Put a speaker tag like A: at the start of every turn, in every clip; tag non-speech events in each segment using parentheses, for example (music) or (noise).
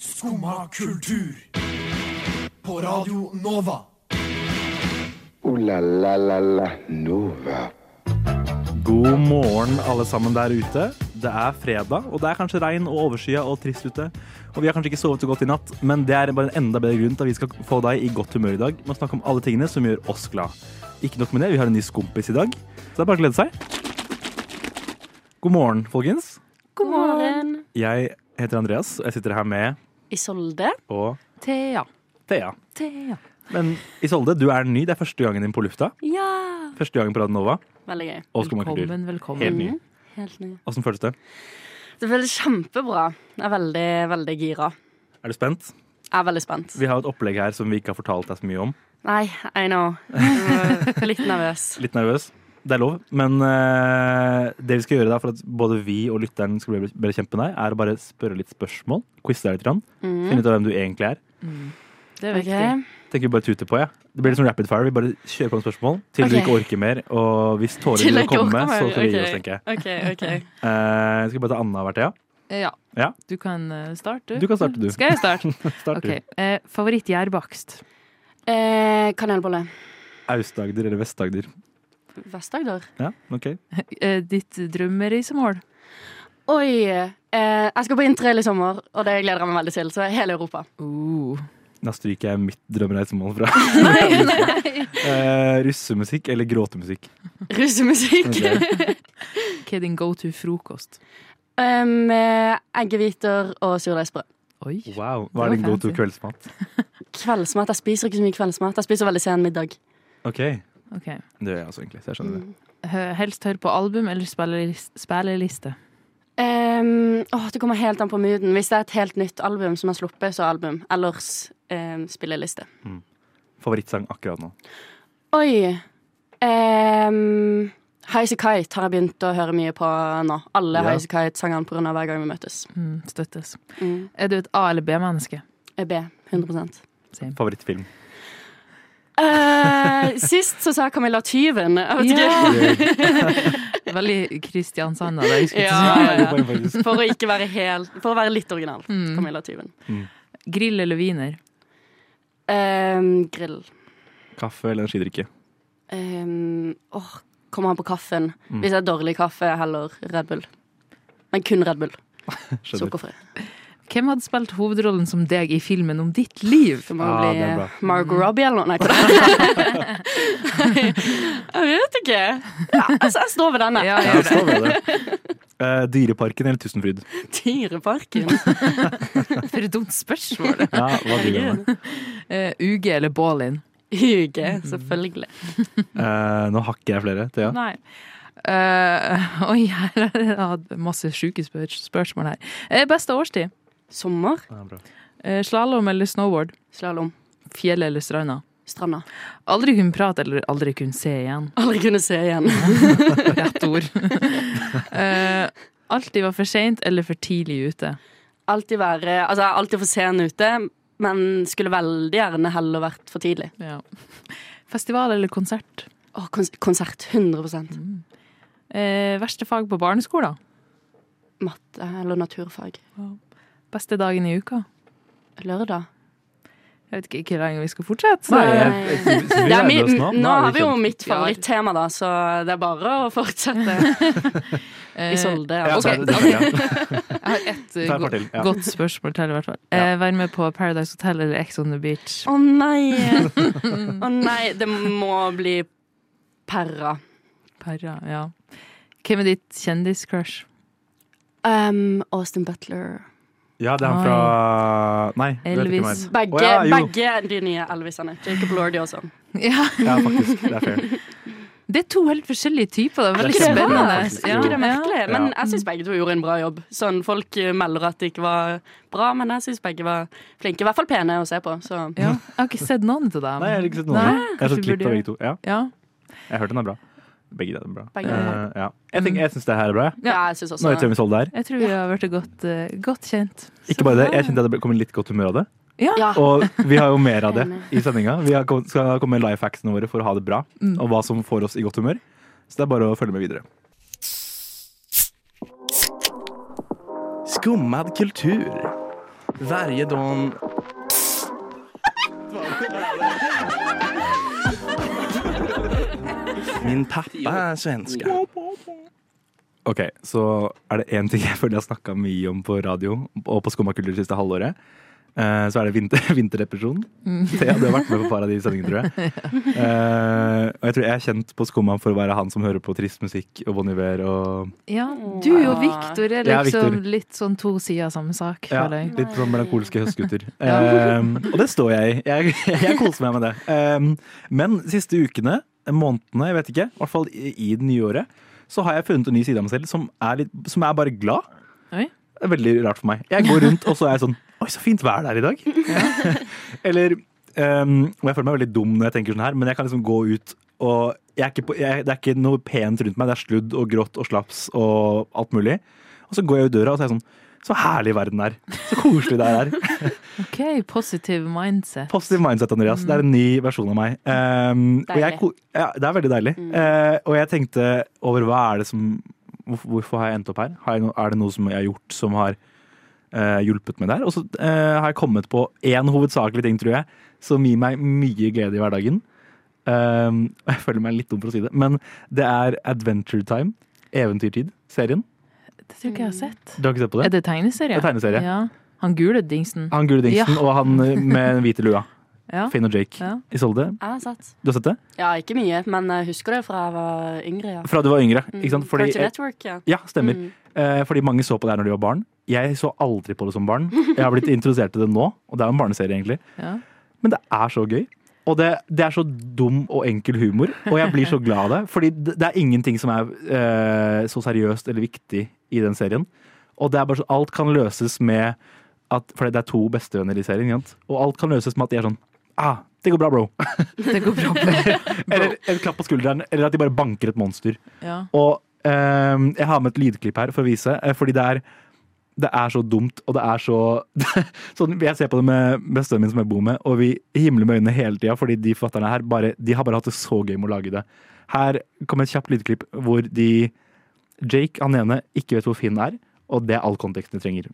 A: Skumma kultur. På Radio Nova.
B: Ooh la la la la Nova.
C: God morgen, alle sammen der ute. Det er fredag, og det er kanskje regn og overskyet og trist ute. Og vi har kanskje ikke sovet så godt i natt, men det er bare en enda bedre grunn til at vi skal få deg i godt humør i dag med å snakke om alle tingene som gjør oss glad. Ikke nok med det, vi har en ny skompis i dag, så det er bare å glede seg. God morgen, folkens.
D: God morgen.
C: Jeg heter Andreas, og jeg sitter her med
D: Isolde.
C: og
D: Thea.
C: Thea.
D: Thea.
C: Men Isolde, du er ny. Det er første gangen din på lufta.
D: Ja.
C: Første gangen på Radio Nova.
D: Veldig gøy.
C: Og Skomakultur.
E: Velkommen, velkommen.
C: Helt ny.
D: Helt ny.
C: Åssen føles det?
D: Det føles kjempebra. Jeg er veldig, veldig gira.
C: Er du spent?
D: Jeg er veldig spent.
C: Vi har et opplegg her som vi ikke har fortalt deg så mye om.
D: Nei, I know. Jeg er Litt nervøs.
C: Litt nervøs. Det er lov. Men eh, det vi skal gjøre da, for at både vi og lytteren skal bli bedre kjent med deg, er å bare spørre litt spørsmål. Quize deg litt. grann.
D: Mm.
C: Finne ut av hvem du egentlig er.
E: Mm. Det er
D: Ok.
E: viktig.
C: Tenker vi bare tuter på, Ja. Det blir litt sånn rapid fire. Vi bare kjører på noen spørsmål til du
D: Ok.
C: ikke orker mer. Og hvis tårer
D: Til
C: begynner
D: jeg
C: å komme,
D: orker mer.
C: så skal vi gi
D: Ok.
C: oss, tenker jeg.
D: OK, OK.
C: Eh, skal vi bare ta Anna hvert, ja?
E: Eh, Ja.
C: Ja.
E: Du kan eh, starte.
C: Du kan starte, du.
E: Skal jeg
C: (laughs)
E: starte?
C: Start
E: Ok. Eh, Favorittgjærbakst.
D: (laughs) Eh, kanelbolle.
C: du. Aust-Agder eller Vest-Agder?
D: Vest-Agder.
C: Ja, OK.
E: Eh, ditt drømmerisemål.
D: Oi. Eh, jeg skal på interrail i sommer, og det gleder jeg meg veldig til. Så hele Europa.
E: Uh.
C: Da stryker jeg mitt drømmereisemål fra. nei, russemusikk eller gråtemusikk?
D: Russemusikk. (laughs)
E: Hva er din go to frokost?
D: Um, eh, eggehviter og surdeigsbrød.
E: Oi.
C: Wow. Hva
E: var
C: er din go to
E: fancy.
C: kveldsmat?
D: Kveldsmat. Jeg spiser ikke så mye kveldsmat. Jeg spiser veldig sen middag.
C: OK.
E: Ok.
C: Det gjør jeg også, egentlig. Så jeg skjønner
D: Mm.
C: det.
E: Eh, Helst hør på album eller spillelis- spilleliste.
D: Ehm, åh, det kommer helt an på mooden. Hvis det er et helt nytt album som er sluppet, så album. Ellers ehm, spilleliste.
C: Favorittsang akkurat nå.
D: Oi! Um, Highasakite Kite har jeg begynt å høre mye på nå. Alle
C: Ja.
D: Highasakite Kite-sangene på grunn av hver gang vi møtes.
E: Mm, støttes.
D: Mm.
E: Er du et A- eller B-menneske?
D: Jeg B. 100
C: (laughs) Favorittfilm.
D: Eh, Sist så sa jeg Camilla Tyven. Jeg vet ikke.
E: Ja. (laughs) Veldig Kristiansand av deg. skulle jeg
D: Ja,
E: si.
D: ja, ja.
C: Poeng, faktisk.
D: For å ikke være helt For å være litt original. Camilla Tyven.
E: Grill eller wiener?
D: Ehm, grill.
C: Kaffe eller energidrikke.
D: Ehm, åh, kommer han på kaffen?
C: Mm.
D: Hvis det er dårlig kaffe, heller Red Bull. Men kun Red Bull.
C: Skjønner.
D: Sukkerfri.
E: Hvem hadde spilt hovedrollen som deg i filmen om ditt liv?
D: Det må
C: Ah,
D: bli
C: det er bra.
D: Margot Robbie eller noe.
C: (laughs)
D: Nei, hva da? jeg vet ikke. Ja, altså, jeg står ved denne.
E: Ja,
C: Ja, så var det. (laughs) Eh, Dyreparken eller Tusenfryd?
D: Dyreparken.
E: For et dumt spørsmål.
C: Ja, hva driver du med?
E: Eh, UG eller Bålin?
D: Huge, selvfølgelig.
C: Eh, nå hakker jeg flere. Thea.
E: Nei. Eh, (laughs) oi, her er det- jeg hadde masse sjuke spør spørsmål her. Eh, beste årstid?
D: Sommer.
C: Ja, bra.
E: Uh, Slalåm eller snowboard?
D: Slalåm.
E: Fjell eller stranda?
D: Stranda.
E: Aldri kunne prate eller aldri kunne se igjen. (laughs)
D: Aldri kunne se igjen.
E: Rett ord. (laughs) Eh, alltid var for seint eller for tidlig ute.
D: Alltid være Altså, jeg er alltid for sen ute, men skulle veldig gjerne heller vært for tidlig.
E: Ja. Festival eller konsert?
D: Å, kons konsert. 100
C: Mm.
E: Eh, verste fag på barneskolen?
D: Matte eller naturfag.
E: Beste dagen i uka?
D: Lørdag.
E: Jeg vet ikke hvor lenge vi skal fortsette.
C: Nei,
E: så-
C: jeg- jeg- Eh, vi
D: Eh, Det er
C: nærmer
D: min,
C: oss
D: nå,
C: er
D: har vi jo
C: kjent.
D: mitt favorittema, da, så det er bare å (laughs) fortsette.
E: Eh,
D: Isolde.
C: Ja,
D: altså.
C: så er det- det er det,
E: Jeg har ett
C: ja.
E: eh,
C: Ta et par
E: godt-
C: til. Ja.
E: Godt spørsmål til, i hvert fall. Eh, vær med på Paradise Hotel eller Ex on the Beach.
D: Å (laughs) nei! Å nei, det må bli Perra.
E: Para, ja. Hvem er ditt kjendiscrush?
D: Um, Austin Butler.
C: Ja, det er han fra Nei, du vet ikke
E: Elvis.
C: mer.
D: Begge,
C: Å, ja, jo.
D: begge de nye Elvisene. Jacob Lordy også.
E: Ja.
C: Ja, faktisk. Det er
D: (laughs)
C: fair.
E: Det er to helt forskjellige typer. Det er veldig
C: Det er
E: spennende.
C: kjempebra, faktisk.
E: Ja,
C: Ikke det
D: Merkelig. Men
C: Ja.
D: jeg syns begge to gjorde en bra jobb. Sånn, Folk eh, melder at det ikke var bra, men jeg syns begge var flinke. I hvert fall pene å se på. Så.
E: Ja. Ja. Jeg har ikke sett noen til dem.
C: Nei, jeg har ikke sett
E: Nei,
C: noen. Jeg har
E: kanskje
C: sett klipp
E: vi
C: av
E: burde
C: begge to. Ja,
E: Ja.
C: jeg har hørt den er bra. Begge de er bra.
D: Begge er
C: Eh, ja. Jeg, tenker- jeg syns det her er bra. jeg.
D: Ja, jeg synes også
C: Nå vet vi hvem vi solgte her.
E: Jeg tror vi har blitt godt, eh, godt kjent.
C: Ikke bare det, jeg kjente at det kom litt godt humør av det.
D: Ja.
C: Og vi har jo mer av det
D: Enig.
C: i sendinga. Vi har kom- skal komme med life hacksene våre for å ha det bra, og hva som får oss i godt humør. Så det er bare å følge med videre.
F: Skummad kultur.
C: Verjedån Min pappa er svenske. OK, så er det én ting jeg føler jeg har snakka mye om på radio og på Skummakultur det siste halvåret. eh, Så er det vinter, (laughs) vinterdepresjon. Thea, du har vært med på et par av de sendingene, tror jeg. Eh, og jeg tror jeg er kjent på Skumma for å være han som hører på trist musikk og Bon Iver og
E: Ja, du og Viktor er
C: Ja,
E: liksom
C: Victor.
E: litt sånn to sider av samme sak,
C: Ja,
E: føler jeg.
C: litt sånn melankolske
E: (laughs)
C: høstgutter. Um, og det står jeg i. Jeg, jeg koser meg med det. Um, men siste ukene, månedene, jeg vet ikke, i hvert fall i, i det nye året, så har jeg funnet en ny side av meg selv som er, litt, som er bare glad.
E: Oi.
C: Det er veldig rart for meg. Jeg går rundt, og så er jeg sånn Oi, så fint vær det er i dag. (laughs) Eller um, og Jeg føler meg veldig dum når jeg tenker sånn her, men jeg kan liksom gå ut og jeg er ikke på, jeg, Det er ikke noe pent rundt meg. Det er sludd og grått og slaps og alt mulig. Og så går jeg ut døra, og så er jeg sånn Så herlig verden er. Så koselig det er her.
E: OK, positive mindset.
C: Positive mindset, Andreas. Det er en ny versjon av meg. Um, og jeg,
D: Deilig.
C: ko- ja, det er veldig deilig. Eh, og jeg tenkte over hva er det som hvorfor, hvorfor har jeg endt opp her? Har jeg, no- er det noe som jeg har gjort som har eh, hjulpet meg der? Og så eh, har jeg kommet på én hovedsakelig ting, tror jeg, som gir meg mye glede i hverdagen. Um, (laughs) og jeg føler meg litt dum for å si det, men det er Adventure Time. Eventyrtid. Serien.
E: Det tror ikke jeg har sett.
C: Du har ikke sett på
E: Er
C: det?
E: det tegneserie?
C: Det er tegneserie. Ah,
E: Ja. Han gule dingsen.
C: Han Gule Dingsen
E: Ja.
C: og han eh, med den hvite lua.
E: (laughs) Ja.
C: Finn og Jake.
E: Ja.
C: Isolde,
D: Jeg har sett.
C: du har sett det?
D: Ja, ikke mye, men jeg husker det fra jeg var yngre, ja.
C: Fra du var yngre.
E: Mm.
C: Ikke sant? Fordi,
D: Mm, Cartoon Network, ja.
C: ja, stemmer. Eh, Fordi mange så på det her når de var barn. Jeg så aldri på det som barn. Jeg har blitt
E: (laughs)
C: introdusert til det nå, og det er jo en barneserie, egentlig.
E: Ja.
C: Men det er så gøy. Og det, det er så dum og enkel humor, og jeg blir så
E: (laughs)
C: glad av det. Fordi det, det er ingenting som er eh, så seriøst eller viktig i den serien. Og det er bare så, alt kan løses med at For det er to bestevenner i serien, ikke sant? og alt kan løses med at de er sånn ah, det går bra, bro.
E: Det går bra.
C: (laughs) Eller en klapp på skulderen, eller at de bare banker et monster.
E: Ja.
C: Og ehm, jeg har med et lydklipp her for å vise, eh, fordi det er det er så dumt, og det er så (laughs) sånn, Jeg ser på det med bestevennen min som jeg bor med, og vi himler med øynene hele tida, fordi de forfatterne her bare, de har bare hatt det så gøy med å lage det. Her kommer et kjapt lydklipp hvor de Jake, han ene, ikke vet hvor Finn er, og det er all konteksten de trenger.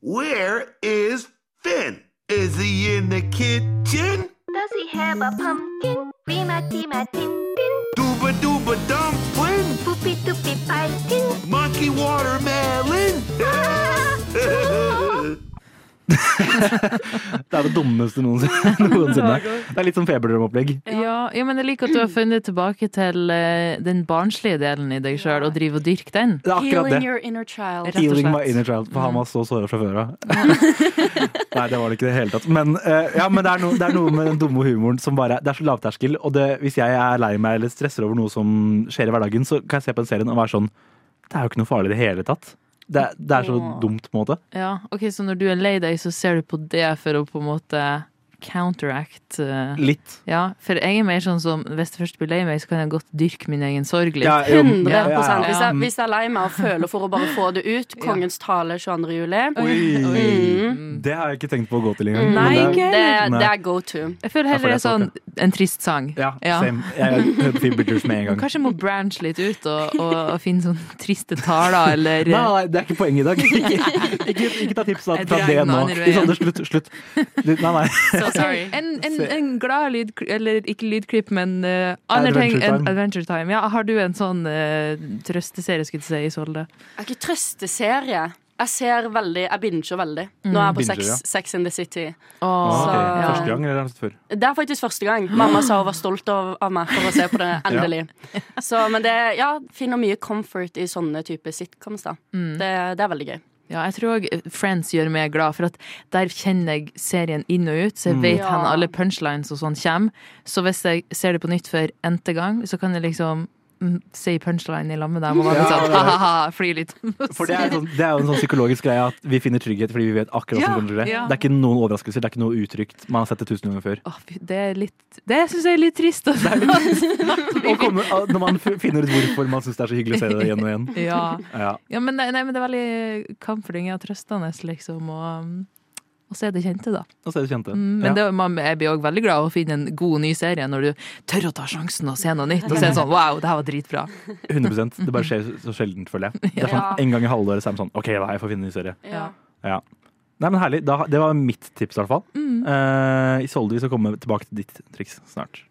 F: Where is Finn? Is he in the kitchen?
G: Does he have a pumpkin? Rima dima din din.
F: Dooba dooba dumpling?
G: Poopy doopy pumpkin.
F: Monkey watermelon?
G: (laughs)
F: (laughs)
C: Det er det dummeste noensinne. (laughs) noensinne. Det er litt sånn feberdrømmeopplegg.
E: Ja, ja, men jeg liker at du har funnet tilbake til eh, den barnslige delen i deg sjøl, og driver og dyrker den.
C: Det er akkurat det.
D: Healing your inner child.
E: Rett og
C: Healing my
E: slett.
C: inner child. For han var så såra fra før av. (laughs) Nei, det var det ikke i det hele tatt. Men, eh, ja, men det, er noe- det er noe med den dumme humoren som bare Det er så lavterskel. Og det, hvis jeg er lei meg eller stresser over noe som skjer i hverdagen, så kan jeg se på den serien og være sånn Det er jo ikke noe farlig i det hele tatt. Det, er- det er så
D: Åh.
C: dumt, på en måte.
E: Ja, ok, Så når du er lei deg, så ser du på det for å på en måte counteract eh,
C: Litt.
E: Ja, for jeg er mer sånn som hvis jeg først blir lei meg, så kan jeg godt dyrke min egen sorg litt.
C: Ja, jo,
D: 100
C: ja, Mm. ja,
D: Hvis
C: ja.
D: jeg, hvis jeg er lei meg og føler for å bare få det (laughs) ut, Kongens tale 22. juli.
C: Oi. Det har jeg ikke tenkt på å gå til engang.
E: Mm. Nei,
C: men det-
E: ikke.
D: Det,
C: Nei.
D: det er go to.
E: Jeg føler
C: Ja, for
E: heller det er sånn
C: det
E: en trist sang.
C: Ja, same. Jeg hører på Fibberdurs med en gang.
E: Kanskje jeg må branche litt ut og, og, og finne sånne triste
C: (laughs)
E: taler, eller
C: Nei, nei, det er ikke poenget i
E: (laughs)
C: dag. Ikke, ikke, ikke ta tips fra fra
E: Jeg drar
C: det
E: den
C: nå.
E: andre veien.
C: Isolde, slutt. slutt. Du- Nei, nei.
D: So Oh, sorry. (laughs)
E: Altså, En, en, en glad lyd... Eller ikke lydklipp, men uh, andre ting
C: Adventure
E: enn
C: Time.
E: Adventure Time. Ja, har du en sånn eh, trøsteserie, skulle jeg si, Isolde?
D: Jeg er ikke trøsteserie. Jeg ser veldig, jeg binger veldig. Nå er jeg
C: Mm.
D: på
C: Binger,
D: Sex,
C: ja.
D: Sex in the City.
C: Ah,
E: Åh,
D: Ah, ok.
E: ja.
D: Første gang,
C: eller har du sett før?
D: Det er faktisk første gang. Mamma sa hun var stolt av, av meg for å se på det,
C: (laughs)
D: endelig. Så, men det, ja, finner mye comfort i sånne typer sitcoms, da.
C: Mm.
D: Det, det er veldig gøy.
E: Ja, jeg tror òg Friends gjør meg glad, for at der kjenner jeg serien inn og ut.
C: Mm.
E: Så jeg vet
D: Ja.
E: hen alle punchlines og sånn kommer. Så hvis jeg ser det på nytt for n-te gang, så kan jeg liksom mm, si punchline i lag med dem og være litt sånn ha-ha-ha, fly litt.
C: For
E: (laughs)
C: det er, sånn, det er jo en sånn psykologisk greie at vi finner trygghet fordi vi vet akkurat hva
E: Ja,
C: som kommer til å skje.
E: ja.
C: Det er ikke noen overraskelser, det er ikke noe utrygt. Man har sett det tusen ganger
E: (laughs)
C: før.
E: Åh, fy, det er litt Det syns jeg er litt trist. altså. at-
C: Og kommer, når man f- finner ut hvorfor man syns det er så hyggelig å se det igjen og igjen.
E: (laughs) ja.
C: Ja.
E: ja, men, nei, nei, men det er veldig comforting og trøstende, liksom. Og, mm, og så er det kjente, da.
C: Og så er det kjente.
E: Mm,
C: Ja.
E: Men det, man, jeg blir òg veldig glad av å finne en god, ny serie når du tør å ta sjansen og se noe nytt. Og se sånn, wow, det her var dritbra.
C: 100
E: (laughs)
C: Det bare skjer så sjeldent, føler jeg. Det er
D: Ja.
C: sånn, En gang i halvåret så er man sånn OK, hva, jeg får finne en ny serie.
E: Ja.
C: Ja. Nei, men herlig. Da, det var mitt tips, i hvert fall.
D: Mm.
C: Eh, Isolde, vi skal komme tilbake til ditt triks snart.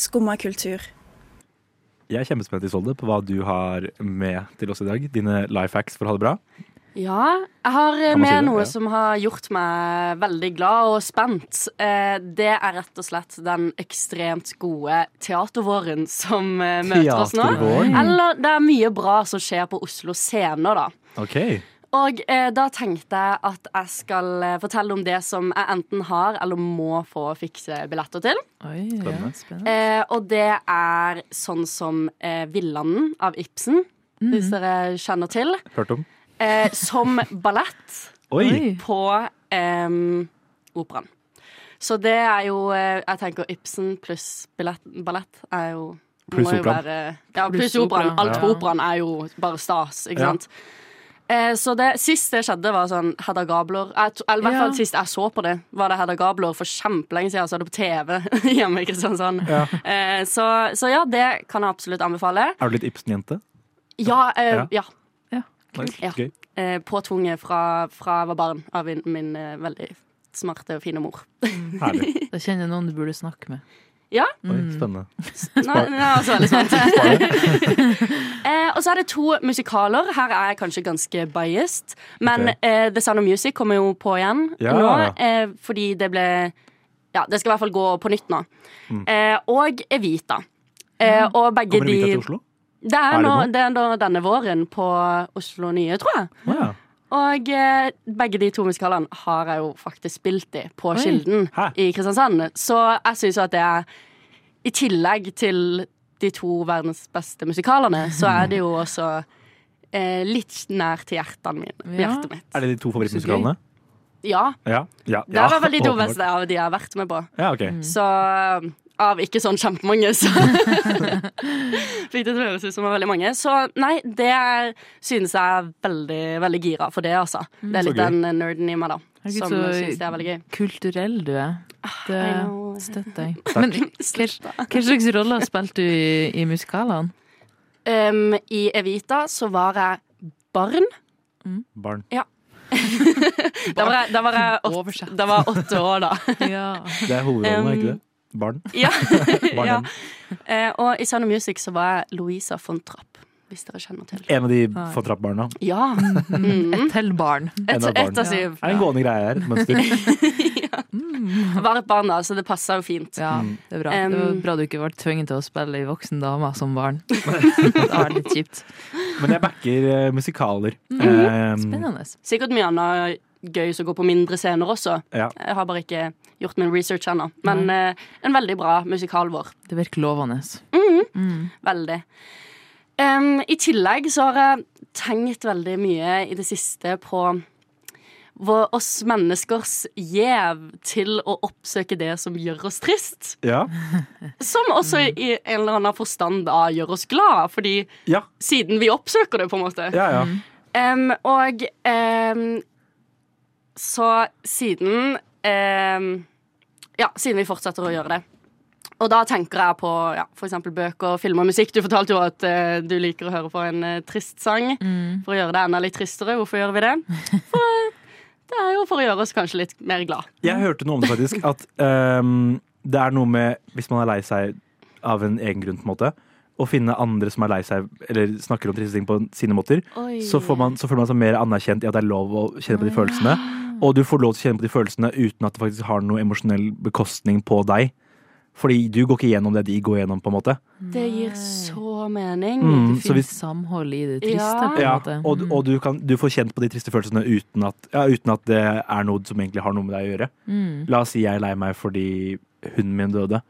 H: Skumma kultur.
C: Jeg er kjempespent Isolde, på hva du har med til oss i dag. Dine life hacks for å ha det bra.
D: Ja, jeg har eh,
C: Kan man si
D: med
C: det?
D: noe
C: Ja.
D: som har gjort meg veldig glad og spent. Eh, Det er rett og slett den ekstremt gode teatervåren som eh, møter oss nå.
C: Teatervåren. Mm.
D: Eller det er mye bra som skjer på Oslo Scener, da.
C: Ok.
D: Og eh, da tenkte jeg at jeg skal eh, fortelle om det som jeg enten har eller må få fikse billetter til.
E: Oi, ja,
C: Spennende.
E: spennende.
D: Eh, og det er sånn som eh, Villanden av Ibsen, hvis dere kjenner til.
C: Hørt om?
D: Eh, som ballett
C: Oi!
E: Oi.
D: på eh, operaen. Så det er jo eh, Jeg tenker Ibsen pluss billett, ballett er jo
C: Pluss
D: må jo
C: operaen.
D: være- Ja,
E: Pluss
D: pluss operaen.
E: operaen,
D: Alt på
E: ja.
D: operaen er jo bare stas, ikke
C: Ja.
D: sant. Eh, så det sist det skjedde, var sånn Hedda Gabler jeg, tro- Eller i hvert
E: Ja.
D: fall sist jeg så på det, var det Hedda Gabler for kjempelenge siden. Jeg så det på TV (laughs) hjemme i Kristiansand. Eh, så, så ja, det kan jeg absolutt anbefale.
C: Er du litt Ibsen-jente?
D: Ja. Eh,
C: Ja.
D: ja.
C: Nice.
D: Ja.
C: Gøy.
D: Eh, påtvunget fra, fra jeg var barn av min, min eh, veldig smarte og fine mor. (laughs)
C: Herlig.
E: Da kjenner jeg noen du burde snakke med.
C: (laughs)
D: Ja.
C: Oi,
D: (laughs)
C: spennende.
D: Nei, det er også veldig sant. eh, og så er det to musikaler. Her er jeg kanskje ganske biased. Men
C: Ok.
D: eh, The Sound of Music kommer jo på igjen
C: Ja.
D: nå, eh, fordi det ble Ja, det skal i hvert fall gå på nytt nå. Eh, og Evita. Eh, og
C: Mm.
D: begge
C: Kommer
D: de
C: Evita til Oslo?
D: Det er,
C: Er det
D: nå,
C: nå?
D: det er nå denne våren på Oslo Nye, tror jeg.
C: Å ja.
D: Og eh, begge de to musikalene har jeg jo faktisk spilt i på
E: Oi.
D: Kilden
C: Hæ?
D: i Kristiansand. Så jeg syns jo at det er I tillegg til de to verdens beste musikalene, så er det jo også eh, litt nær til hjertene mine.
E: Ja.
D: Hjertet mitt.
C: Er det de to favorittmusikalene?
D: Ja.
C: Ja. ja.
D: Det er i hvert fall de to
C: åpenbart.
D: beste Mm. av de jeg har vært med på.
C: Ja, ok.
E: Mm.
D: Så av ikke sånn kjempemange, så (laughs) Fikk det til å høres ut som det var veldig mange. Så nei, det er- synes jeg er veldig, veldig gira for det, altså. Det er
C: Så gøy.
D: litt den nerden i meg, da.
E: Mm. Herregud,
D: Som
E: så-
D: synes det er veldig gøy.
E: Kulturell du er. Det
D: I know.
E: støtter jeg. (laughs) Men hva hva slags roller spilte du i, i musikalene?
D: Um, I Evita så var jeg barn.
C: Barn.
D: Da var jeg, da var jeg, åtte,
E: Oversett.
D: da var jeg åtte år, da.
E: (laughs) Ja.
C: Det er hovedrollen,
D: Um,
C: er ikke det? Barn.
D: Ja.
C: Barn
D: ja. Eh, Og i Sound of Music så var jeg Louisa von Trapp, hvis dere kjenner til.
C: En av de von Trapp-barna.
E: (laughs)
D: Ja.
E: Et til barn.
D: Et,
C: En av barn.
D: et av syv.
C: Det er en gående greie her. et Mønster.
D: Jeg Var et barn, da, så det passa jo fint.
E: Ja,
C: Mm.
E: det er bra. det var
D: Um,
E: bra du ikke ble tvunget til å spille i voksen dame
C: (laughs)
E: som barn. det var litt kjipt.
C: Men jeg backer eh, musikaler. Eh,
E: Spennende.
D: Sikkert mye annet gøy som går på mindre scener også.
C: ja.
D: Jeg har bare ikke gjort min research ennå. Men eh, en veldig bra musikal vår.
E: Det virker lovende.
D: Veldig. Em, I tillegg så har jeg tenkt veldig mye i det siste på vår, oss menneskers gjev til å oppsøke det som gjør oss trist.
C: Ja.
D: Som også i en eller annen forstand da gjør oss glad, fordi
C: Ja.
D: siden vi oppsøker det, på en måte.
C: Ja, ja.
D: Em, og em, så siden em, Ja, siden vi fortsetter å gjøre det. Og da tenker jeg på ja, f.eks. bøker, film og musikk. Du fortalte jo at eh, du liker å høre på en eh, trist sang. For å gjøre det enda litt tristere. Hvorfor gjør vi det? For det er jo for å gjøre oss kanskje litt mer glad.
C: Jeg hørte noe om det faktisk, at ehm, det er noe med, hvis man er lei seg av en egen grunn, på en måte, å finne andre som er lei seg, eller snakker om triste ting på sine måter, så, får man, så føler man seg mer anerkjent i at det er lov å kjenne på de følelsene. Og du får lov til å kjenne på de følelsene uten at det faktisk har noe emosjonell bekostning på deg. Fordi du går ikke gjennom det de går gjennom, på en måte.
D: Det gir så mening.
E: Du
C: Mm, så
E: finner
C: hvis,
E: samhold i det
D: Ja.
E: triste, på
C: ja,
E: en måte. Mm.
C: og og du, kan, du får kjent på de triste følelsene uten at, ja, uten at det er noe som egentlig har noe med deg å gjøre.
E: Mm.
C: La oss si jeg er lei meg fordi hunden min døde.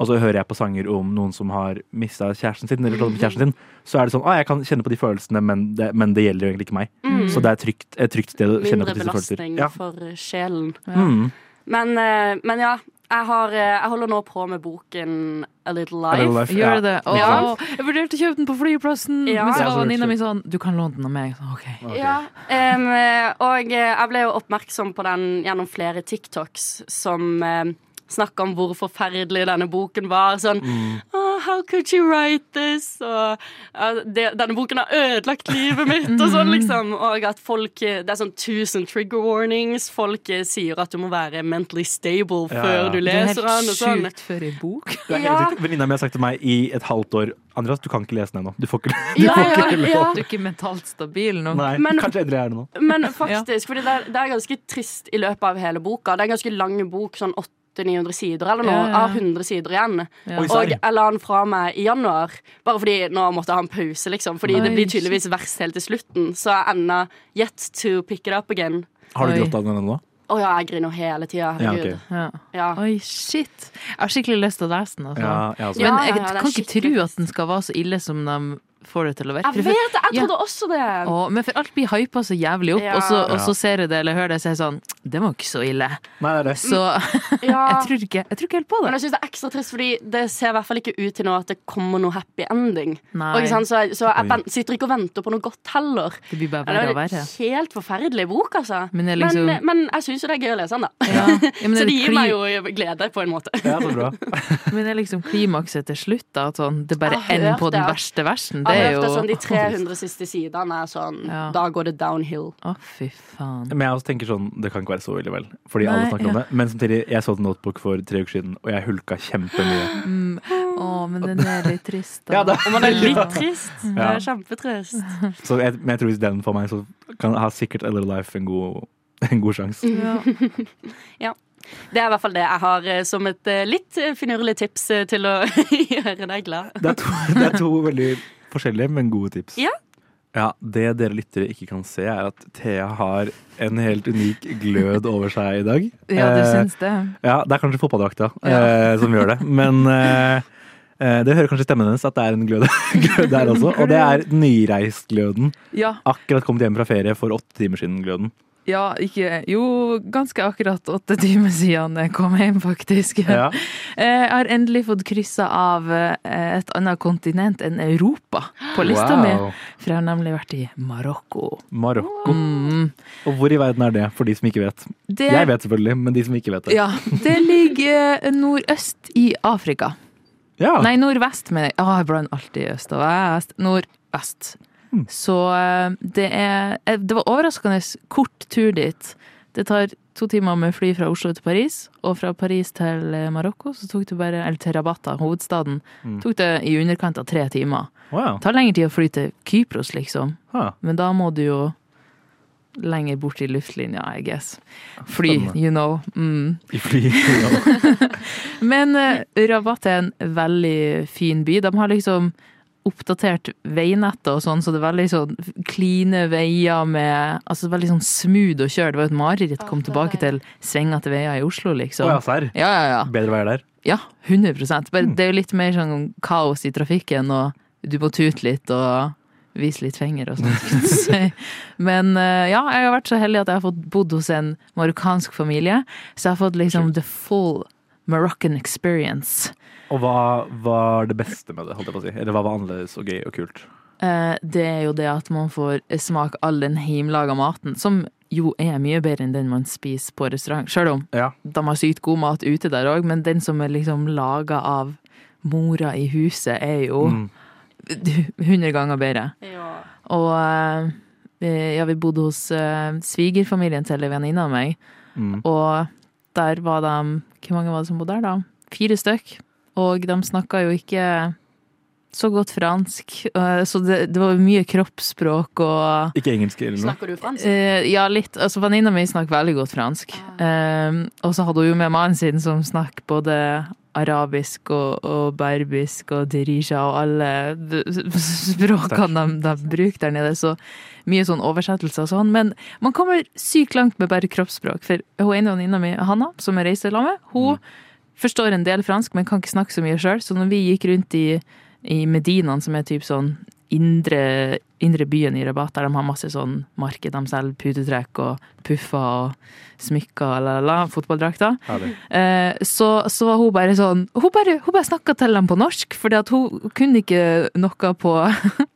C: Og så hører jeg på sanger om noen som har mista kjæresten sin, eller slått opp med kjæresten sin. Så er det sånn ah, jeg kan kjenne på de følelsene, men det, men det gjelder jo egentlig ikke meg. Så det er trygt, et trygt sted å kjenne
D: Mindre
C: på disse følelser.
D: belastning
C: Ja.
D: for sjelen.
C: Mm.
D: Men, eh, men ja, jeg, har, eh, jeg holder nå på med boken A Little
C: A
D: Life.
C: Little Life,
E: Gjør
C: ja.
E: det? Åh,
D: Ja.
E: Jeg vurderte å kjøpe den på flyplassen,
D: Ja.
E: men så
C: Ja,
E: var
C: så
E: venninna
C: lurt.
E: mi sånn Du kan låne den av meg. Jeg sa, Ok.
C: Ok.
D: Ja, em, eh, og eh, jeg ble jo oppmerksom på den gjennom flere TikToks som eh, snakke om hvor forferdelig denne boken var. Sånn
C: Mm.
D: «Ah, How could she write this? Og ja, det, denne boken har ødelagt livet mitt, og
C: Mm.
D: sånn, liksom. Og at folk eh, Det er sånn 1000 trigger warnings. Folk eh, sier at du må være mentally stable
C: Ja,
D: før
C: ja.
D: du
E: Det er helt
D: leser den, og sånn.
E: sjukt for ei bok.
C: Det er helt
D: (laughs) Ja.
C: riktig. Venninna mi har sagt til meg i et halvt år Andreas, du kan ikke lese den ennå. Du får ikke, (laughs) du
D: Ja,
C: får
D: ja,
C: ikke lov.
D: ja.
E: Du er ikke mentalt stabil nok.
C: Nei,
D: Men-
C: kanskje Edre er det nå.
E: (laughs)
D: Men faktisk, fordi det er, det er ganske trist i løpet av hele boka. Det er en ganske lang bok, sånn 800-900 sider eller noe.
E: Ja, ja, ja.
D: Av 100 sider igjen.
E: Ja.
C: Oi,
D: Og
C: sorry.
D: jeg la den fra meg i januar, bare fordi nå måtte jeg ha en pause, liksom. Fordi det
E: Oi,
D: blir tydeligvis verst helt til slutten. Så jeg enda yet to pick it up again.
C: Har du
E: Oi.
C: grått av den ennå?
D: Å ja, jeg griner hele tida.
C: Ja,
D: Herregud.
C: ok.
E: Ja.
D: Ja,
E: Oi, shit. Jeg har skikkelig lyst til å lese den. Altså.
C: ja, ja, altså.
E: Men
D: Ja,
E: jeg
D: ja, det er
E: kan ikke tro
D: skikkelig
E: at den skal være så ille som de får det til å virke.
D: Jeg vet det! Jeg
E: Ja.
D: trodde også det.
E: Å, men for alt blir hypa så jævlig opp,
D: Ja.
E: og, så, og
C: Ja.
E: så ser jeg det eller hører det, så er jeg sånn Det var jo ikke så ille.
C: Nei, det er det.
E: Så
D: Ja.
E: (laughs) jeg tror ikke, jeg tror ikke helt på
D: Men
E: det.
D: jeg synes det er ekstra trist, fordi det ser i hvert fall ikke ut til nå at det kommer noe happy ending.
E: Nei.
D: Og ikke sant? Så jeg, så jeg
C: Oi.
D: ven- sitter ikke og venter på noe godt heller.
E: Det blir bare
D: Ja,
E: verre
D: Det
E: og
D: var
E: verre.
D: en helt forferdelig bok, altså.
E: Men jeg liksom-
D: men, men jeg syns jo det er gøy å lese den, da.
E: Ja. Ja,
D: (laughs)
E: men
D: Så
E: er
D: det gir
E: kli-
D: meg jo glede, på en måte.
C: Ja,
E: (laughs)
C: så bra.
E: Men det er liksom klimakset til slutt, da. At sånn, det bare
D: Jeg har
E: ender
D: hørt
E: på den
D: det.
E: verste versen. Det
D: Jeg
E: er
D: har
E: jo
D: hørt at sånn, de
E: (laughs)
D: 300 siste sidene er sånn
E: Ja.
D: Da går det downhill.
E: Å, fy faen.
C: Men jeg også tenker sånn, det kan ikke være så ille vel. Fordi
E: Nei,
C: alle snakker om
E: ja.
C: det. Men samtidig, jeg så et notebook for tre uker siden, og jeg hulka
E: (laughs)
C: kjempemye.
E: Mm. Å, men den er litt trist, da.
C: Ja, det-
D: Og man er litt trist. Det
C: Ja.
D: er kjempetrist.
C: Så jeg, men jeg tror hvis den for meg, så kan har sikkert Eller Life en god, en god sjanse.
E: Ja.
D: Det er i hvert fall det jeg har eh, som et eh, litt eh, finurlig tips eh, til å (laughs) gjøre deg glad.
C: Det er, to, (laughs) det er to veldig forskjellige, men gode tips.
D: Ja.
C: Ja, Det dere lyttere ikke kan se, er at Thea har en helt unik glød over seg i dag.
E: ja, du
C: Eh,
E: syns det?
C: ja, Det er kanskje fotballdrakta
E: Ja.
C: eh, som gjør det, men eh, eh, dere hører kanskje stemmen hennes at det er en glød, (laughs) glød der også. Og det er nyreist-gløden.
E: Ja.
C: Akkurat kommet hjem fra ferie for åtte timer siden. gløden
E: ja, ikke Jo, ganske akkurat åtte timer siden jeg kom hjem, faktisk. Eh, Jeg har endelig fått kryssa av eh, et annet kontinent enn Europa på lista mi.
C: Wow.
E: For jeg har nemlig vært i Marokko.
C: Marokko.
E: Mm.
C: Og hvor i verden er det, for de som ikke vet?
E: Det,
C: Jeg vet selvfølgelig, men de som ikke vet det.
E: Ja, det ligger eh, nordøst i Afrika.
C: Ja.
E: Nei, nordvest, mener jeg. Ah, jeg blander alltid øst og vest. Nordvest. Så eh, det er eh, Det var overraskende kort tur dit. Det tar to timer med fly fra Oslo til Paris, og fra Paris til eh, Marokko så tok det bare Eller til Rabat, da, hovedstaden. Tok det i underkant av tre timer.
C: Wow.
E: Det tar lengre tid å fly til Kypros, liksom.
C: Ha.
E: Men da må du jo lenger bort i luftlinja, I guess. Fly,
C: Spennende.
E: you know. Mm.
C: I
E: (laughs)
C: fly. Ja.
E: Men eh, Rabat er en veldig fin by. De har liksom oppdatert veinettet og sånn, så det er veldig sånn kline veier med Altså veldig sånn smooth å kjøre. Det var jo et mareritt å komme tilbake til svingete veier i Oslo,
C: Å
E: liksom.
C: ja, serr.
E: Ja, ja, ja.
C: Bedre veier der.
E: Ja, 100 Bare
C: Mm.
E: Det er jo litt mer sånn kaos i trafikken, og du må tute litt og vise litt penger og sånt.
C: (laughs)
E: skulle jeg si. Men eh, ja, jeg har vært så heldig at jeg har fått bodd hos en marokkansk familie, så jeg har fått liksom the full Moroccan experience.
C: Og hva var det beste med det? holdt jeg på å si? Eller hva var annerledes og gøy og kult?
E: Eh, Det er jo det at man får smake all den hjemmelaga maten, som jo er mye bedre enn den man spiser på restaurant. Sjøl om
C: Ja.
E: de har sykt god mat ute der òg, men den som er liksom laga av mora i huset, er jo
C: Mm.
E: (laughs) 100 ganger bedre.
D: Ja.
E: Og eh, vi- ja, vi bodde hos eh, svigerfamilien til ei venninne av meg,
C: Mm.
E: og der var de Hvor mange var det som bodde der, da? Fire stykk. Og de snakka jo ikke så godt fransk, eh, så det, det var mye kroppsspråk og
C: Ikke engelsk eller noe?
D: Snakker du fransk?
E: Eh, ja, litt. Altså, Venninna mi snakker veldig godt fransk. Eh, og så hadde hun jo med mannen sin, som snakker både arabisk og, og berbisk og dirija og alle d- s- språkene de, de bruker der nede. Så mye sånn oversettelser og sånn. Men man kommer sykt langt med bare kroppsspråk. For hun ene venninna mi, Hanna, som jeg reiser sammen med, hun forstår en del fransk, men kan ikke snakke så mye sjøl. Så når vi gikk rundt i, i Medinaen, som er typ sånn indre indre byen i Rabat, der de har masse sånn marked. De selger putetrekk og puffer og smykker og la, la, la, fotballdrakter.
C: Herlig.
E: Eh, så, så var hun bare sånn Hun bare, hun bare snakka til dem på norsk, fordi at hun kunne ikke noe på (laughs)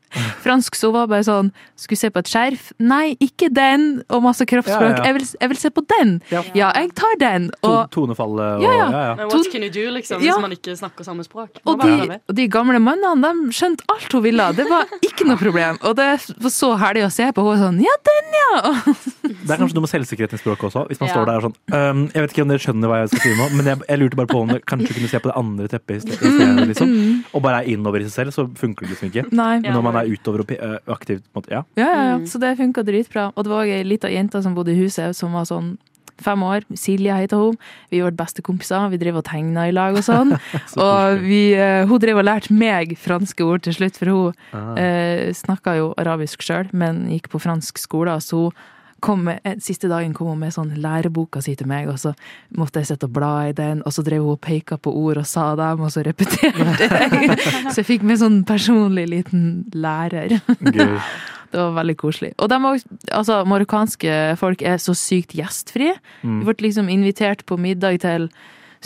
E: fransk. Så hun var bare sånn Skulle se på et skjerf? Nei, ikke den! Og masse kroppsspråk.
C: Ja, ja.
E: Jeg, vil, jeg vil se på den!
C: Ja.
E: Ja, jeg tar den!
C: To,
E: Og,
C: tonefallet og
E: Ja, ja.
C: ja, ja.
D: Men
E: To-
D: what can you do, liksom,
E: Ja.
D: hvis man ikke snakker samme språk? Man
E: og,
D: bare
E: de,
D: prøver.
E: og de gamle mannene de skjønte alt hun ville. Det var ikke noe problem. Og det var så herlig å se på. Hun var sånn Ja, den, ja! Og,
C: Det er kanskje noe med selvsikkerheten i språket også. Hvis man
D: Ja.
C: står der og sånn «Øhm, Jeg vet ikke om dere skjønner hva jeg skal skrive nå, men jeg, jeg lurte bare på om dere kanskje kunne se på det andre teppet i sted- i stedet, liksom. Og bare er innover i seg selv, så funker det liksom ikke.
E: nei.
C: Men når man er utover og pe- øh, aktivt på en måte, ja.
E: Ja, ja, ja. Så det funka dritbra. Og det var òg ei lita jente som bodde i huset, som var sånn fem år. Silje heter hun. Vi ble bestekompiser. Vi drev og tegna i lag og sånn. og vi, eh, hun drev og lærte meg franske ord til slutt, for hun eh, snakka jo arabisk sjøl, men gikk på fransk skole. Så hun kom med, eh, siste dagen kom hun med sånn læreboka si til meg, og så måtte jeg sitte og bla i den, og så drev hun og peka på ord og sa dem, og så repeterte jeg. (laughs) så jeg fikk med sånn personlig liten lærer.
C: Gøy.
E: Det var veldig koselig. Og de var, altså, marokkanske folk er så sykt gjestfrie. Vi ble liksom invitert på middag til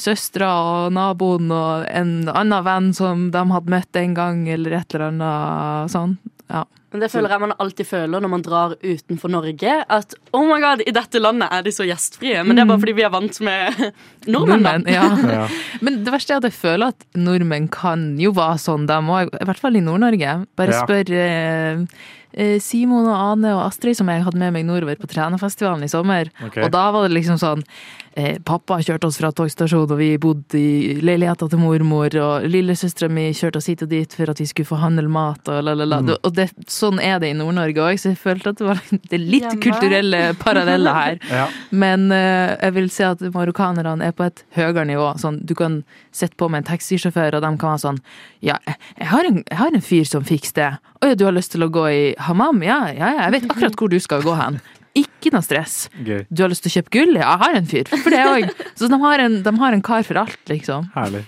E: søstera og naboen og en annen venn som de hadde møtt en gang, eller et eller annet sånn. Ja.
D: Men det føler jeg man alltid føler når man drar utenfor Norge. At oh my god, i dette landet er de så gjestfrie. Men det er bare fordi vi er vant med (laughs) nordmenn. da.
E: Nordmenn,
C: Ja.
E: ja. Men det verste er at jeg føler at nordmenn kan jo være sånn, de òg. I hvert fall i Nord-Norge. Bare
C: Ja.
E: spør eh, eh, Simon og Ane og Astrid, som jeg hadde med meg nordover på Trænafestivalen i sommer.
C: Ok.
E: Og da var det liksom sånn eh, Pappa kjørte oss fra togstasjonen, og vi bodde i leiligheta til mormor, og lillesøstera mi kjørte oss hit og dit for at vi skulle få handle mat, og la, la, la. Du- Og det, sånn er det i Nord-Norge òg, så jeg følte at det var (laughs) det er litt
D: Hjemme.
E: kulturelle paralleller her.
C: Ja.
E: Men eh, jeg vil si at marokkanerne er på et høyere nivå. Sånn, du kan sitte på med en taxisjåfør, og de kan være sånn Ja, jeg- jeg har en, jeg har en fyr som fikser det. Å ja, du har lyst til å gå i hammam? Ja, ja, ja, jeg vet akkurat hvor du skal gå hen. Ikke noe stress.
C: Gøy.
E: Du har lyst til å kjøpe gull? Ja, jeg har en fyr for det òg. Så de har, en, de har en kar for alt, liksom.
C: Herlig.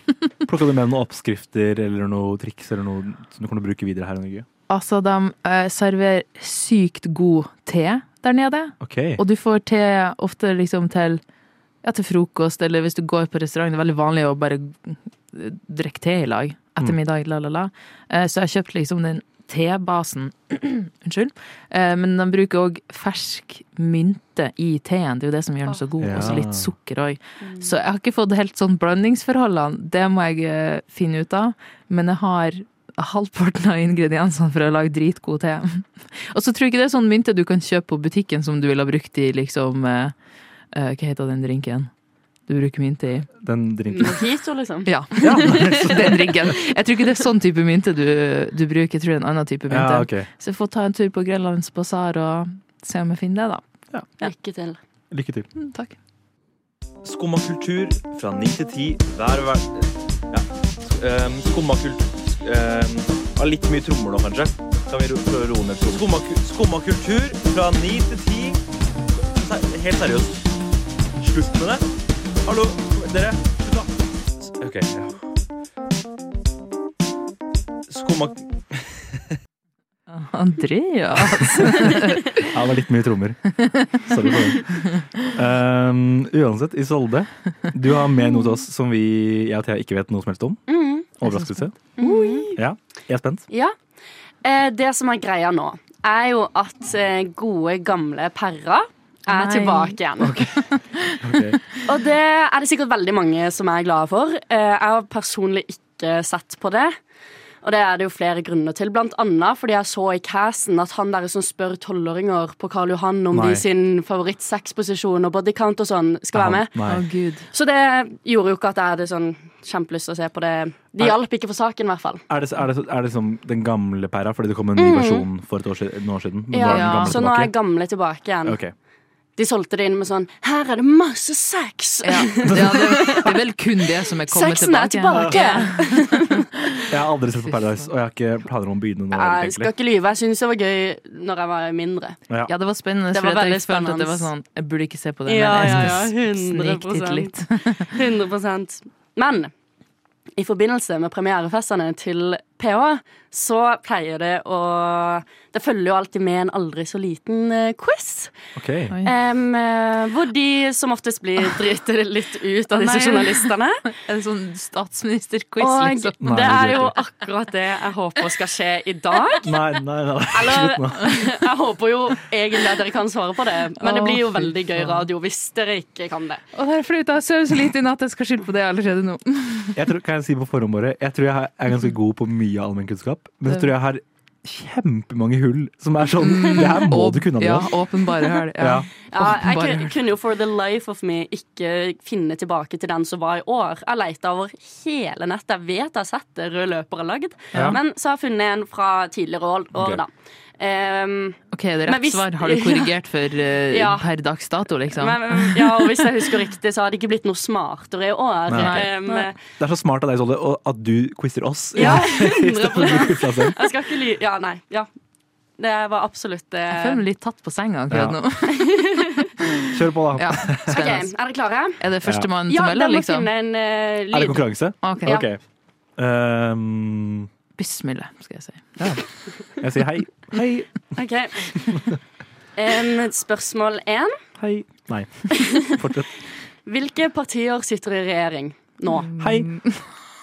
C: Plukka du med noen oppskrifter eller noen triks eller noe som du kan bruke videre her i Norge?
E: Altså, de eh, serverer sykt god te der nede.
C: Ok.
E: Og du får te ofte liksom til ja, til frokost, eller hvis du går på restaurant. Det er veldig vanlig å bare drikke te i lag etter middag, la, la, la. Eh, Så jeg har kjøpt liksom den tebasen. (clears throat) Unnskyld. Eh, Men de bruker òg fersk mynte i teen. Det er jo det som gjør den så god.
C: Ja.
E: Og så litt sukker òg. Så jeg har ikke fått helt sånn blandingsforholdene. Det må jeg eh, finne ut av. Men jeg har halvparten av ingrediensene for å lage dritgod te. (laughs) Og så tror jeg ikke det er sånn mynte du kan kjøpe på butikken som du ville ha brukt i liksom eh, eh, Hva heter den drinken du bruker mynte i? (laughs)
C: Den drinken.
D: Mojito, liksom.
E: Ja, den drinken. Jeg tror ikke det er sånn type mynte du, du bruker, jeg tror det er en annen type mynte.
C: Ja, ok.
E: Så jeg får ta en tur på Grønlands basar og se om jeg finner det, da.
D: Lykke til.
C: Lykke til.
E: Mm, Takk.
H: Skumma kultur fra 9 til 10 hver hver... Ja. Um, Skumma kultur um, har Litt mye trommer nå, kanskje. Kan vi ro- prøve å roe ned trommer? Skumma, ku- skumma kultur fra 9 til 10 Se- Helt seriøst. Slutt med det. Hallo, dere. Slutt, da. S- OK. Ja. Skumma
E: Andreas!
C: Ja, det var litt mye trommer. Sorry for det. Um, uansett, Isolde, du har med noe til oss som vi, jeg og Thea ikke vet noe som helst om.
D: Mm,
C: Overraskelse. Ja, jeg er spent.
D: Ja. Eh, det som er greia nå, er jo at eh, gode, gamle perra er
E: Nei.
D: tilbake igjen.
C: Ok.
D: (laughs) Og det er det sikkert veldig mange som er glade for. Eh, Jeg har personlig ikke sett på det. Og det er det jo flere grunner til, blant annet fordi jeg så i casten at han der som spør tolvåringer på Karl Johan om
C: Nei.
D: de sin favorittsexposisjon og bodycount og sånn skal være med.
E: Å,
C: Nei.
E: gud.
D: Så det gjorde jo ikke at jeg hadde sånn kjempelyst til å se på det.
C: Er-
D: Det hjalp ikke for saken, i hvert fall.
C: Er det, er, det, er det som den gamle pæra? Fordi det kom en ny versjon for et år siden. Noen år siden men nå er den
D: Mm. Ja,
C: gamle
D: så nå er
C: tilbake.
D: gamle tilbake igjen.
C: Ok.
D: De solgte det inn med sånn Her er det masse sex!
E: (laughs) Ja, det, ja, det, det er vel kun det som er kommet
D: Sexen er
E: tilbake.
D: tilbake!
C: Jeg har aldri sett på Paradise, og jeg har ikke planer om å begynne nå.
D: Jeg
C: egentlig.
D: skal ikke lyve. Jeg syns det var gøy når jeg var mindre.
C: Ja.
E: Ja, det var spennende.
D: Det
E: for
D: var
E: at jeg
D: veldig
E: følte at det var sånn,
D: spennende.
E: jeg burde ikke se på det,
D: Ja,
E: men jeg
D: ja, ja,
E: skal
D: 100%.
E: sniktitte litt. (laughs)
D: 100 Men i forbindelse med premierefestene til PH, så pleier det å Det følger jo alltid med en aldri så liten eh, quiz.
C: Ok.
E: Oi.
D: Em, eh, hvor de som oftest blir driter litt ut av disse
E: Nei. (laughs)
D: journalistene.
E: Er det sånn statsministerquiz,
D: Og
E: liksom?
C: Nei,
D: det
C: det
D: er
C: blir
D: jo
C: ikke.
D: akkurat det jeg håper skal skje i dag.
C: Nei, nei, nei.
D: Eller-
C: Slutt nå.
D: (laughs) Jeg håper jo egentlig at dere kan svare på det, men det
E: Å,
D: blir jo
E: fy
D: veldig gøy
E: faen.
D: radio hvis dere ikke kan det.
E: Å, det er flaut. Jeg sover så lite i natt, jeg skal skylde på det allerede nå.
C: Jeg tror, kan jeg si på forhånd bare, jeg tror jeg er ganske god på mye allmennkunnskap, men jeg tror jeg har kjempemange hull som er sånn Det her må du kunne,
E: Ja,
C: Andreas.
E: åpenbare høl. Ja.
C: Ja.
D: Ja, jeg
E: Åpenbare
D: kun-
E: høl.
D: kunne jo for the life of me ikke finne tilbake til den som var i år. Jeg leita over hele nettet. Jeg vet jeg har sett det røde løpere lagd,
C: Ja.
D: men så har jeg funnet en fra tidligere år, år
C: Ok.
D: da. Ehm, Em,
E: Ok, det er
D: Men
E: rett
D: hvis-
E: svar. Har du korrigert for eh,
D: (laughs) Ja.
E: per dags dato, liksom?
D: men, ja, og hvis jeg husker riktig, så har det ikke blitt noe smartere i år.
C: Nei.
D: Em,
C: Det er så smart av deg, Solde, og at du quizer oss. (laughs)
D: ja,
C: I stedet for
D: 100
C: å quize deg selv.
D: Jeg skal ikke ly... Ja, nei. Ja. Det var absolutt eh,
E: Jeg føler meg litt tatt på senga akkurat
C: Ja.
E: nå.
C: Kjør på, da.
E: Ja,
D: OK,
E: spennende.
D: er dere klare?
E: (laughs) Er det førstemann
D: Ja,
E: til
D: dere
E: mølla,
D: må
E: liksom?
D: finne en eh,
C: Er det
D: lyd.
C: konkurranse?
E: Ok,
D: Ja.
C: Ok. Ehm,
E: Bismillah, skal jeg si.
C: jeg sier hei. Hei.
D: OK.
C: (laughs)
D: Em, spørsmål én.
C: Hei. Nei. Fortsett.
D: Hvilke partier sitter i regjering nå?
C: Hei.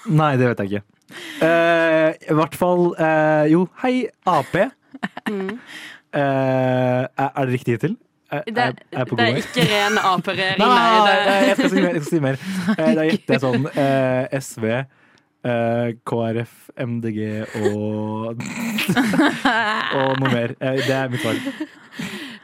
C: Nei, det vet jeg ikke. Eh, I hvert fall eh, Jo, hei, Ap. Eh, er, er det riktig hittil? Er,
D: Det,
C: er, er jeg på god
D: det er
C: vei?
D: ikke ren
C: (laughs)
D: Ap-regjering.
C: Nei,
D: Nei, det,
C: jeg skal si mer. Jeg skal si mer. Eh, Da gjetter jeg sånn eh, SV, eh, KrF, MDG
D: (laughs)
C: og Og noe mer. Eh, det er mitt svar.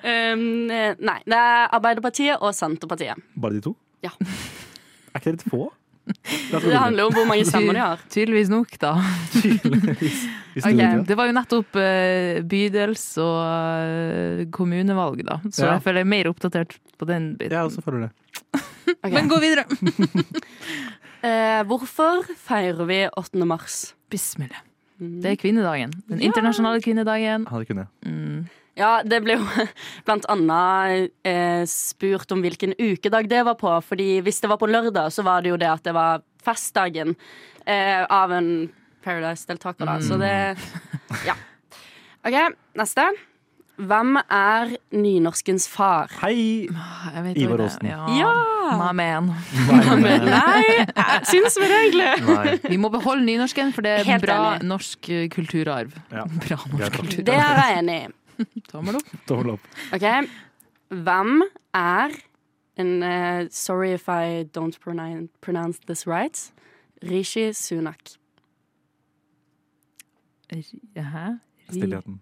D: Em, eh, nei, det er Arbeiderpartiet og Senterpartiet.
C: Bare de to?
D: Ja.
C: Er ikke det litt få? La oss gå
D: Det
C: videre.
D: handler jo om hvor mange stemmer de
C: (laughs)
D: har.
E: Tydeligvis nok, da.
C: Hvis
D: Ok.
C: du liker det.
E: Det var jo nettopp eh, bydels- og eh, kommunevalg, da. Så
C: Ja. altså.
E: jeg føler jeg er mer oppdatert på den biten.
C: Jeg også føler det.
D: Ok.
E: Men gå videre!
D: Eh, hvorfor feirer vi 8. mars?
E: Bismillah. Det er kvinnedagen. Den internasjonale kvinnedagen.
C: Ja, det kunne jeg.
D: Ja, det ble jo (laughs) blant annet eh, spurt om hvilken ukedag det var på. Fordi hvis det var på lørdag, så var det jo det at det var festdagen eh, av en Paradise-deltaker, da. Så det Ja. OK, neste. Hvem er nynorskens far?
C: Hei!
E: Ah, Jeg vet
C: Ivar
E: hva det
C: Aasen.
E: er. Ja.
D: Ja!
E: My man.
C: Nei, nei, nei.
D: Nei, eh, syns vi det, egentlig?
C: Nei.
E: Vi må beholde nynorsken, for det er
D: Helt
E: bra
D: enig.
E: norsk eh, kulturarv.
C: Ja.
E: Bra
C: Greit,
E: norsk
C: da.
E: kulturarv.
D: Det er jeg enig i.
E: Tommel opp.
C: Tommel opp.
D: OK. Hvem er en eh, Sorry if I don't pronounce, pronounce this right. Rishi Sunak.
E: Hæ?
C: Stillheten.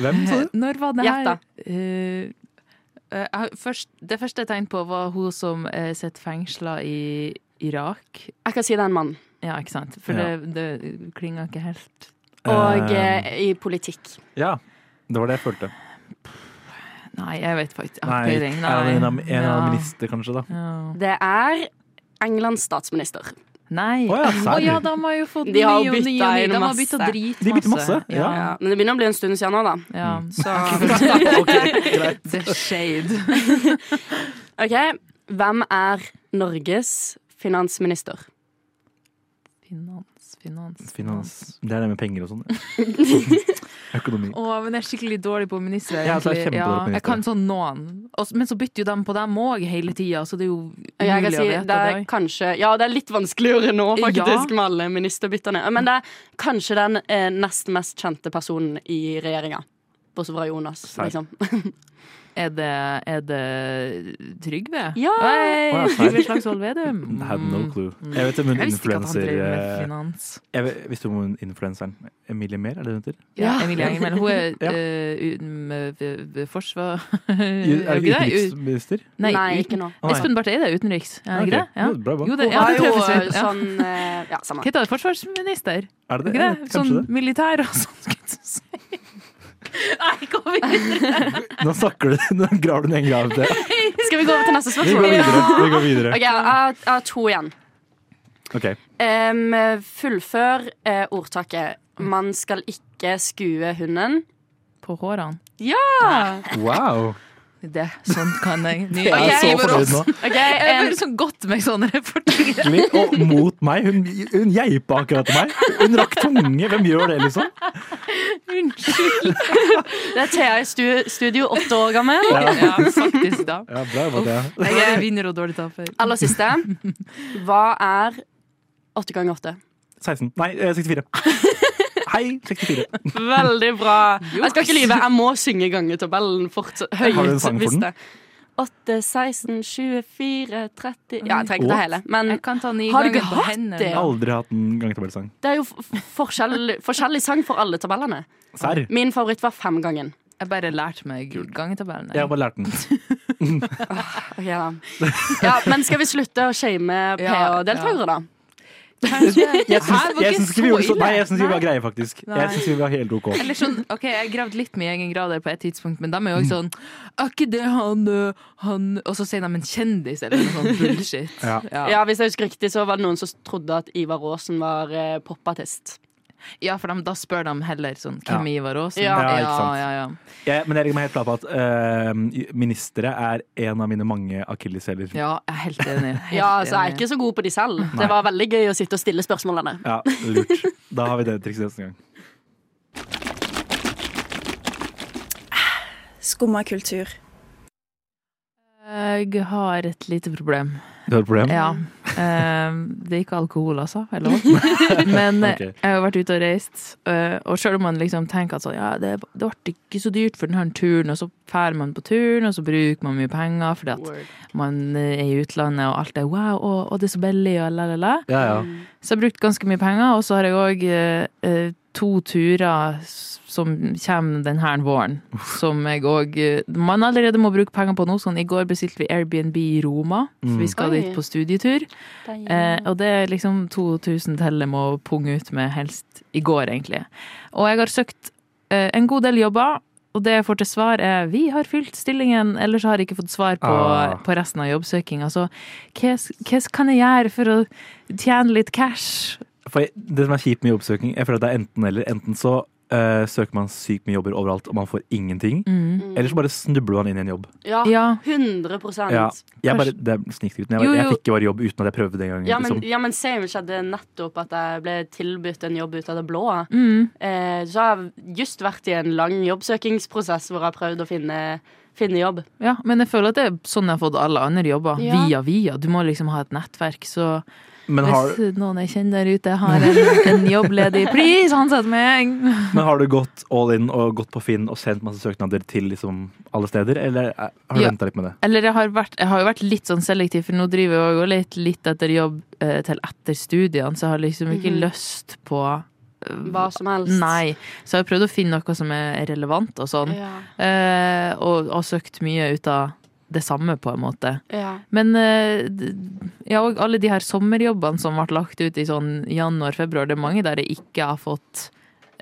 C: Hvem sa du?
E: Eh, Når var det
D: Gjett da.
E: her? Eh, eh, jeg har først, det første jeg tenkte på, var hun som er sett fengsla i Irak.
D: Jeg kan si det er en mann.
E: Ja, ikke sant? For
C: Ja.
E: det, det klinger ikke helt.
D: Og
C: Eh,
D: eh, i politikk.
C: Ja. Det var det jeg følte.
E: Nei, jeg vet faktisk jeg har
C: Nei,
E: ikke
C: er det
E: peiling.
C: en av, en av
E: Ja.
C: minister, kanskje, da.
E: Ja.
D: Det er Englands statsminister.
E: Nei.
C: Å ja,
E: Å
C: serr.
E: ja, de har jo fått
D: De har
E: ny og
D: bytta
E: ny og ny.
D: inn
E: De har
D: masse.
E: bytta dritmasse.
C: De bytter masse, ja. Mm.
D: Ja, men det begynner å bli en stund
C: (laughs)
D: siden nå, da.
E: ja.
D: Så
E: (laughs) The shade.
D: OK. Hvem er Norges finansminister?
E: Finans, finans,
C: Finans.
E: Mm.
C: Det er det med penger og sånn.
E: (laughs)
C: Økonomi.
E: Å, men jeg er skikkelig dårlig på ministre.
C: Ja, altså, jeg er
E: egentlig.
C: kjempedårlig på
E: jeg
C: ministre.
E: kan sånn noen. Og s- Men så bytter jo de på dem òg hele tida, så det er jo
D: Ok, Jeg kan
E: umulig
D: si
E: å
D: det
E: vite.
D: er
E: det.
D: kanskje Ja, det er litt vanskeligere nå,
E: Ja.
D: faktisk, med alle ministerbytterne. Men det er kanskje den eh, nest mest kjente personen i regjeringa. Bortsett fra Jonas,
C: Serr.
D: liksom.
E: Er det, er det Trygve?
D: Ja!
E: Hei,
C: Å, ja, sant.
E: Trygve Slagsvold
C: (laughs)
E: Vedum.
C: I had no
E: Mm.
C: clue. Jeg vet om hun
E: Jeg visste ikke at han
C: influenser
E: drev med
C: eh,
E: finans.
C: jeg vet- Visste du om hun influenseren Emilie Mehl, er det hun heter?
E: Ja,
D: Ja.
E: Emilie Enger Mehl. Hun (laughs) er
C: Ja.
E: eh, uten, eh, v- v- forsvar... (laughs) Eh,
C: Er det ikke
E: U-
C: utenriksminister?
E: Nei,
D: ikke nå.
C: Å, nei.
E: Espen Barth Eide er utenriks, er han
C: Ok,
E: ikke det? Ja.
C: jo, Bra, bra.
E: Jo, det,
D: Hun
E: ja,
D: var
E: det
D: jo
E: tror jeg
D: eh,
E: faktisk. Ja.
D: sånn eh, Ja,
E: Hva
D: samme.
E: heter det? Forsvarsminister?
C: Er det det?
E: Ikke
C: Ja,
E: det?
C: Kanskje
E: Sånn
C: det.
E: militær og sånn, skulle jeg til å si. (laughs) Nei, kom igjen!
C: Nå snakker du, (laughs) nå graver du ned en
E: (laughs)
C: grav til.
D: Skal vi gå over til neste
C: Vi går
D: spørsmål?
C: videre. Vi går videre.
D: OK, jeg har- jeg har to igjen.
C: Ok.
D: Em, fullfør eh, ordtaket 'Man skal ikke skue hunden'.
E: På hårene.
C: Wow.
E: Det, sånn kan (laughs) jeg. Ny,
C: Jeg
D: Ok,
C: er så
D: men-
C: fornøyd nå.
D: Ok,
E: Jeg
D: em,
E: føler så godt med sånne reporteringer.
C: Virkelig. Og mot meg. Hun, hun geipa akkurat til meg. Hun rakk tunge. Hvem gjør det, liksom?
E: Unnskyld.
D: det er Thea i stu studio, åtte år gammel.
E: Ja, faktisk, da.
C: Ja, bra jobba, Thea.
E: Uff, jeg er vinner og dårlig taper.
D: Aller siste. Hva er åtte ganger åtte?
C: 16. Nei, eh, 64. Hei, 64.
D: Veldig bra. Jeg skal ikke lyve, jeg må synge gangetabellen fort, høyt.
C: Har du en sang for
D: hvis
C: den?
D: det- 8, 16, 24, 30 Ja, jeg trenger
C: Åh.
D: ikke det hele. Men
E: Jeg kan ta ni
D: Har du
E: ganger
D: ikke
E: på
D: hatt
E: hendene.
D: det?
C: Aldri hatt en gangetabellsang.
D: det er jo f- f- forskjell, forskjellig sang for alle tabellene.
C: Serr.
D: Min favoritt var femgangen.
E: Jeg bare lærte meg
C: (laughs)
E: gangetabellen.
C: Jeg har bare lært den.
D: Okay, da. (laughs) ja, men skal vi slutte å shame
E: Ja,
D: PH-deltakere, da?
E: Kanskje.
C: Jeg syns,
E: Hæ, var
C: jeg
E: ikke
C: syns ikke vi gjorde det så Nei, jeg syns vi
E: ille.
C: var greie, faktisk.
E: Nei.
C: Jeg syns vi var helt OK.
E: Eller sånn, ok, Jeg gravde litt med egen grader på et tidspunkt, men de er jo også sånn Er ikke det han, ø, han Og så sier de en kjendis eller noe sånn bullshit.
C: Ja.
E: Ja.
D: Ja, Hvis jeg husker riktig, så var det noen som trodde at Ivar Aasen var eh, popartist.
E: Ja, for de, da spør de heller sånn Hvem er Ivar Aasen?
D: Ja.
C: Ja,
E: ja,
C: ikke sant.
E: ja, ja.
C: Jeg, men jeg legger meg helt klar på at eh, ministre er en av mine mange akilleshæler. Ja.
E: Ja, jeg er helt enig. Helt
D: Ja, så jeg er
E: enig.
D: ikke så god på de selv. Det var veldig gøy å sitte og stille spørsmålene.
C: lurt. Da har vi det trikset neste gang.
I: Skumma kultur.
E: Jeg har et lite problem.
C: Du har et problem?
E: Ja. Ehm, det er ikke alkohol, altså. Eller hva? (laughs) Men eh,
C: Ok.
E: jeg har vært ute og reist, eh, og selv om man liksom tenker at sånn, ja, det, det ble ikke så dyrt for denne turen, og så drar man på turen, og så bruker man mye penger fordi at man eh, er i utlandet, og alt er wow, og, og det er så billig, og la, la, la.
C: Ja, ja.
E: Så jeg har brukt ganske mye penger, og så har jeg òg to turer s- som kommer denne våren. Som jeg òg Man allerede må bruke penger på nå. Sånn, I går bestilte vi Airbnb i Roma, for vi skal
D: Oi.
E: dit på studietur. Eh, og det er liksom 2000 til jeg må punge ut med helst i går, egentlig. Og jeg har søkt eh, en god del jobber. Og det jeg får til svar er vi har fylt stillingen, ellers har jeg ikke fått svar på,
C: Ah.
E: på resten av jobbsøkinga. Så hva s- hva s- kan jeg gjøre for å tjene litt cash?
C: For jeg- det som er kjipt med jobbsøking, jeg føler at det er enten eller. Enten så eh, søker man sykt mye jobber overalt, og man får
E: Mm.
C: ingenting. Eller så bare snubler man inn i en jobb.
D: Mm. Ja,
E: Ja.
D: 100
C: Ja. Jeg bare,
E: Kanskje-
C: det er snikskryten. Jeg,
E: Jo,
C: jeg
E: jo.
C: fikk jo bare jobb uten at jeg prøvde den gangen.
D: Ja, men,
C: liksom.
D: ja, men same skjedde nettopp at jeg ble tilbudt en jobb ut av det blå.
E: Mm.
D: Eh, så har jeg just vært i en lang jobbsøkingsprosess hvor jeg har prøvd å finne, finne jobb.
E: Ja, men jeg føler at det er sånn jeg har fått alle andre jobber.
D: Ja.
E: Via via. Du må liksom ha et nettverk, så
C: Men, har,
E: hvis noen jeg kjenner der ute har en, en jobb ledig, please ansett meg!
C: men har du gått all in og gått på Finn og sendt masse søknader til liksom alle steder, eller eh, har du
E: Ja.
C: ventet venta litt med det?
E: Eller jeg har, vært, jeg har jo vært litt sånn selektiv, for nå driver jeg også litt, litt etter jobb eh, til etter studiene, så jeg har liksom ikke
D: Mhm.
E: lyst på
D: Hva som helst.
E: Nei. Så jeg har prøvd å finne noe som er relevant og sånn,
D: Ja,
E: eh, og, og søkt mye ut av det samme, på en måte.
D: ja.
E: Men eh, d- ja, og alle de her sommerjobbene som ble lagt ut i sånn januar-februar, det er mange der jeg ikke har fått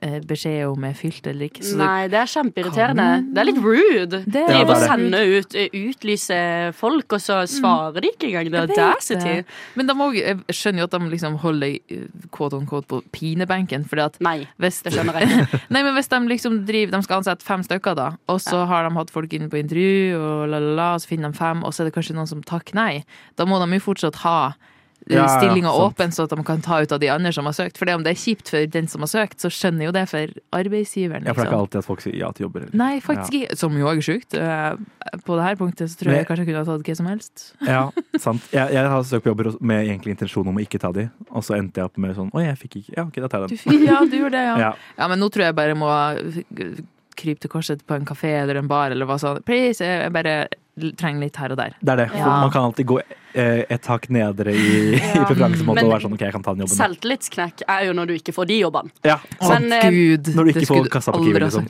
E: eh, beskjed om jeg er fylt eller ikke. Så det,
D: Nei, det er kjempeirriterende. Det er litt rude.
E: Det er
D: de må
C: det.
D: sende ut, eh, utlyse folk, og så svarer de ikke engang. Det
E: Jeg
D: er
E: vet
D: audacity.
E: det. Men de må, jeg skjønner jo at de liksom holder eh, quote on quote på pinebenken, fordi at
D: Nei,
E: hvis,
D: det skjønner jeg ikke.
E: nei, men hvis de liksom driver De skal ansette fem stykker, da, og så har de hatt folk inne på intervju, og la, la, la, og så finner de fem, og så er det kanskje noen som takker nei. Da må de jo fortsatt ha
C: Ja, ja,
E: stillinga
C: sant.
E: åpen, så at de kan ta ut av de andre som har søkt. For det om det er kjipt for den som har søkt, så skjønner jo det for arbeidsgiveren.
C: Ja, for det er ikke
E: liksom.
C: alltid at folk sier ja til jobber. eller?
E: Nei, faktisk ikke. Som jo også er sjukt. Eh, På det her punktet så tror jeg
C: Men-
E: kanskje jeg kunne ha tatt hva som helst.
C: Ja, sant. Jeg, jeg har søkt på jobber med egentlig intensjon om å ikke ta de, og så endte jeg opp med sånn Å, jeg fikk ikke Ja, OK, da tar jeg
E: Du
C: den.
E: fikk, ja, du gjorde det, ja.
C: Ja.
E: Ja, men nå tror jeg bare må eh, krype til korset på en kafé eller en bar eller hva sånn. Please, jeg bare trenger litt her og der.
C: Det er det. For
E: Ja.
C: Man kan alltid gå eh, et tak nedere
E: (laughs)
C: i, i preferansemåte
E: Men-
C: og være sånn OK, jeg kan ta den jobben. nå».
D: Selvtillitsknekk er jo når du ikke får de jobbene.
C: Ja, sant.
D: Men, eh,
E: Gud,
C: Når du
E: det
C: ikke
E: skulle
C: får kassa på
E: aldri
C: Kiwi,
E: ha
C: liksom.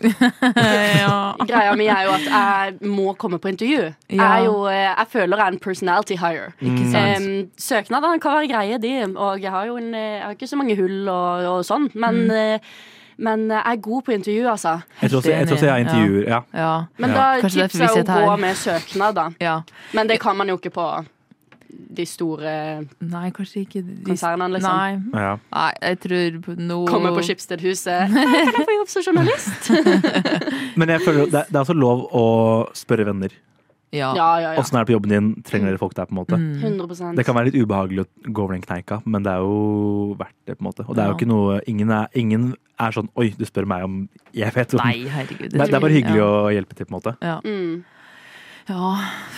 D: (laughs)
E: sagt. ja.
D: Greia mi er jo
E: (laughs)
D: at jeg må komme på intervju.
E: Ja.
D: Jeg, er jo, eh, jeg føler jeg er en personality hire.
C: Mm.
E: Ikke sant.
D: Um, søknadene kan være greie, de. Og jeg har jo en, eh, jeg har ikke så mange hull og, og sånn. Men,
E: Mm.
D: eh, men eh, jeg er god på intervju, altså.
C: Jeg tror også jeg, tror også jeg
E: enig.
C: intervjuer. Ja.
E: (laughs) Ja.
D: Men
C: Ja.
D: da tipser
E: Kanskje derfor vi
D: jeg å
E: sitter her.
D: gå med søknad, da.
E: ja.
D: Men det kan man jo ikke på de store eh,
E: Nei, kanskje ikke de-
D: konsernene, liksom.
E: Nei.
C: Ja.
E: Nei, jeg tror nå
D: Komme på
E: (laughs)
D: Skipstedhuset. Jeg kan få jobb som journalist.
C: Men jeg føler det, det er også lov å spørre venner.
E: Ja.
D: Ja, ja, ja.
C: Åssen er det på jobben din? Trenger dere folk der? på en måte?
E: Mm.
D: 100
C: Det kan være litt ubehagelig å gå over den kneika, men det er jo verdt det. på en måte. Og det er jo
E: Ja.
C: ikke noe Ingen er, ingen er sånn Oi, du spør meg om Jeg vet om
E: Nei, herregud.
C: Det, det er bare hyggelig å hjelpe til, på en måte.
E: ja.
D: Mm.
E: ja,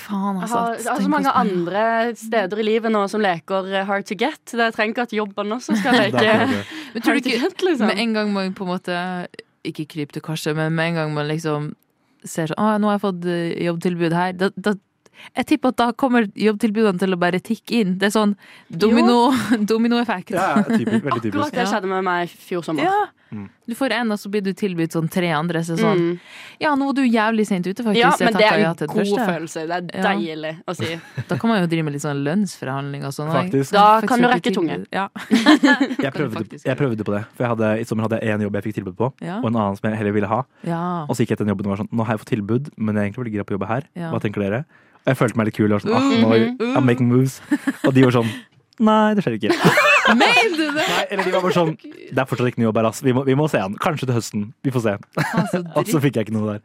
E: faen,
D: Jeg
E: altså.
D: har, jeg har så mange andre steder i livet nå som leker eh, hard to get. Det jeg trenger ikke at jobben også
E: (laughs)
D: skal
C: Det er
D: leke
C: akkurat det.
E: Men tror
D: hard to
E: du ikke
D: get, (laughs) liksom.
E: Med en gang man på en måte Ikke kryper til korset, men med en gang man liksom ser sånn Å, nå har jeg fått eh, jobbtilbud her. Da, da, jeg tipper at da kommer jobbtilbudene til å bare tikke inn. Det er sånn domino, (laughs) dominoeffekt.
C: Ja, ja, typisk, veldig
D: Akkurat
C: typisk.
D: det
E: Ja.
D: skjedde med meg i fjor sommer.
E: Ja. Du får én, og så blir du tilbudt sånn tre andre. Så sånn
D: Mm.
E: Ja, nå var du jævlig sent ute, faktisk.
D: ja,
E: Jeg
D: men det
E: takker
D: er
E: ja
D: en
E: til det
D: god
E: første.
D: følelse. Det er
E: Ja.
D: deilig å si.
E: Da kan man jo drive med litt sånn lønnsforhandling og sånn. og jeg-
C: Faktisk.
D: Da
E: Faktisk
D: kan du
E: fikk
D: rekke
E: tilbud.
D: tunge.
E: Ja.
C: Jeg
E: kan du
C: prøvde,
E: faktisk
C: jeg prøvde på det. For jeg hadde, I sommer hadde jeg én jobb jeg fikk tilbud på,
E: Ja.
C: og en annen som jeg heller ville ha.
E: ja.
C: Og så gikk jeg til den jobben og var sånn Nå har jeg fått tilbud, men jeg er egentlig veldig gira på å jobbe her.
E: Ja.
C: Hva tenker dere? Og jeg følte meg litt kul. Og var sånn, ah, nå, I'm making moves. Og de var sånn Nei, det skjer ikke.
E: Mener du
D: (laughs)
E: det?!
C: Nei, eller de var bare sånn Det er fortsatt ikke noe jobb her, ass. Vi må, vi må se han. Kanskje til høsten. Vi får se.
E: Faen, så
C: Og så
D: Altså,
E: dritt.
C: fikk jeg ikke noe der.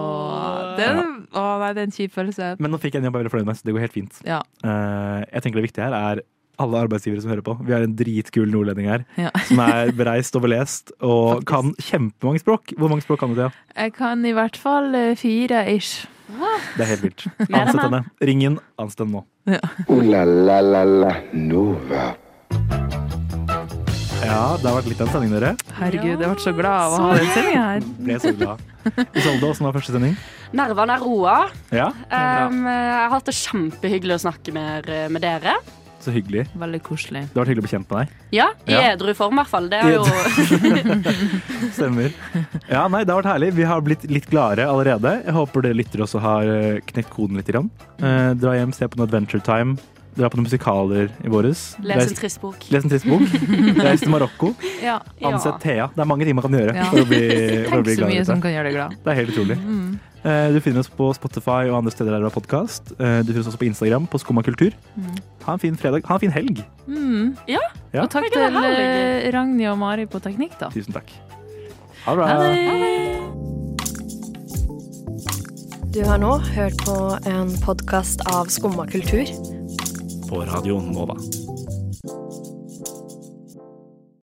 E: Åh, det, er- åh, nei, det er en kjip følelse.
C: Men nå fikk jeg en jobb jeg er veldig fornøyd med, så det går helt fint.
E: Ja.
C: Eh, jeg tenker det viktige her er alle arbeidsgivere som hører på. Vi har en dritkul nordlending her
E: ja.
C: som er bereist og belest og kan kjempemange språk. Hvor mange språk kan du, Thea?
E: Jeg kan i hvert fall eh, fire ish.
C: Det er helt vilt.
D: Mer enn
C: Ansett henne. Ring inn, ansett henne nå.
B: Ooh la la la la Nova.
C: Ja, det har vært litt av en sending, dere.
E: Herregud, jeg ble så glad av å ha den sendinga her.
C: Ble så glad. Isolde, åssen var første sending?
D: Nervene er roa.
C: Ja,
D: Um, jeg har hatt det kjempehyggelig å snakke med, med dere.
C: så hyggelig.
E: Veldig koselig.
C: Det har vært hyggelig å bli kjent med deg.
D: Ja, i
C: Ja.
D: edru form, i hvert fall. Det er jo
C: Stemmer. Ja, nei, det har vært herlig. Vi har blitt litt gladere allerede. Jeg håper dere lytter også har eh, knekt koden litt. Grann. Eh, dra hjem, se på noe Adventure Time. Dra på noen musikaler i våres.
D: (laughs) Les
C: Reis-
E: (laughs)
D: en trist bok.
C: Les en trist bok. Reis til Marokko.
E: Ja.
D: Ja.
C: Ansett Thea. Det er mange ting man kan gjøre
E: Ja.
C: for å bli,
E: (laughs)
C: for å bli
E: Tenk så
C: glad i
E: mye
C: dette.
E: som Mm. kan gjøre deg glad.
C: Det er helt utrolig. Eh, Du finner oss på Spotify og andre steder der du har podkast. Du finner oss også på Instagram på Skumma kultur. Ha en fin fredag. Ha en fin helg.
E: Mm.
D: Ja.
C: Ja.
E: Og takk
D: Det er
E: til
D: ikke det her,
E: eh, Ragnhild og Mari på Teknikk, da.
C: Tusen takk. Ha det bra.
I: Du har nå hørt på en podkast av Skumma kultur.
J: På Radio Nova.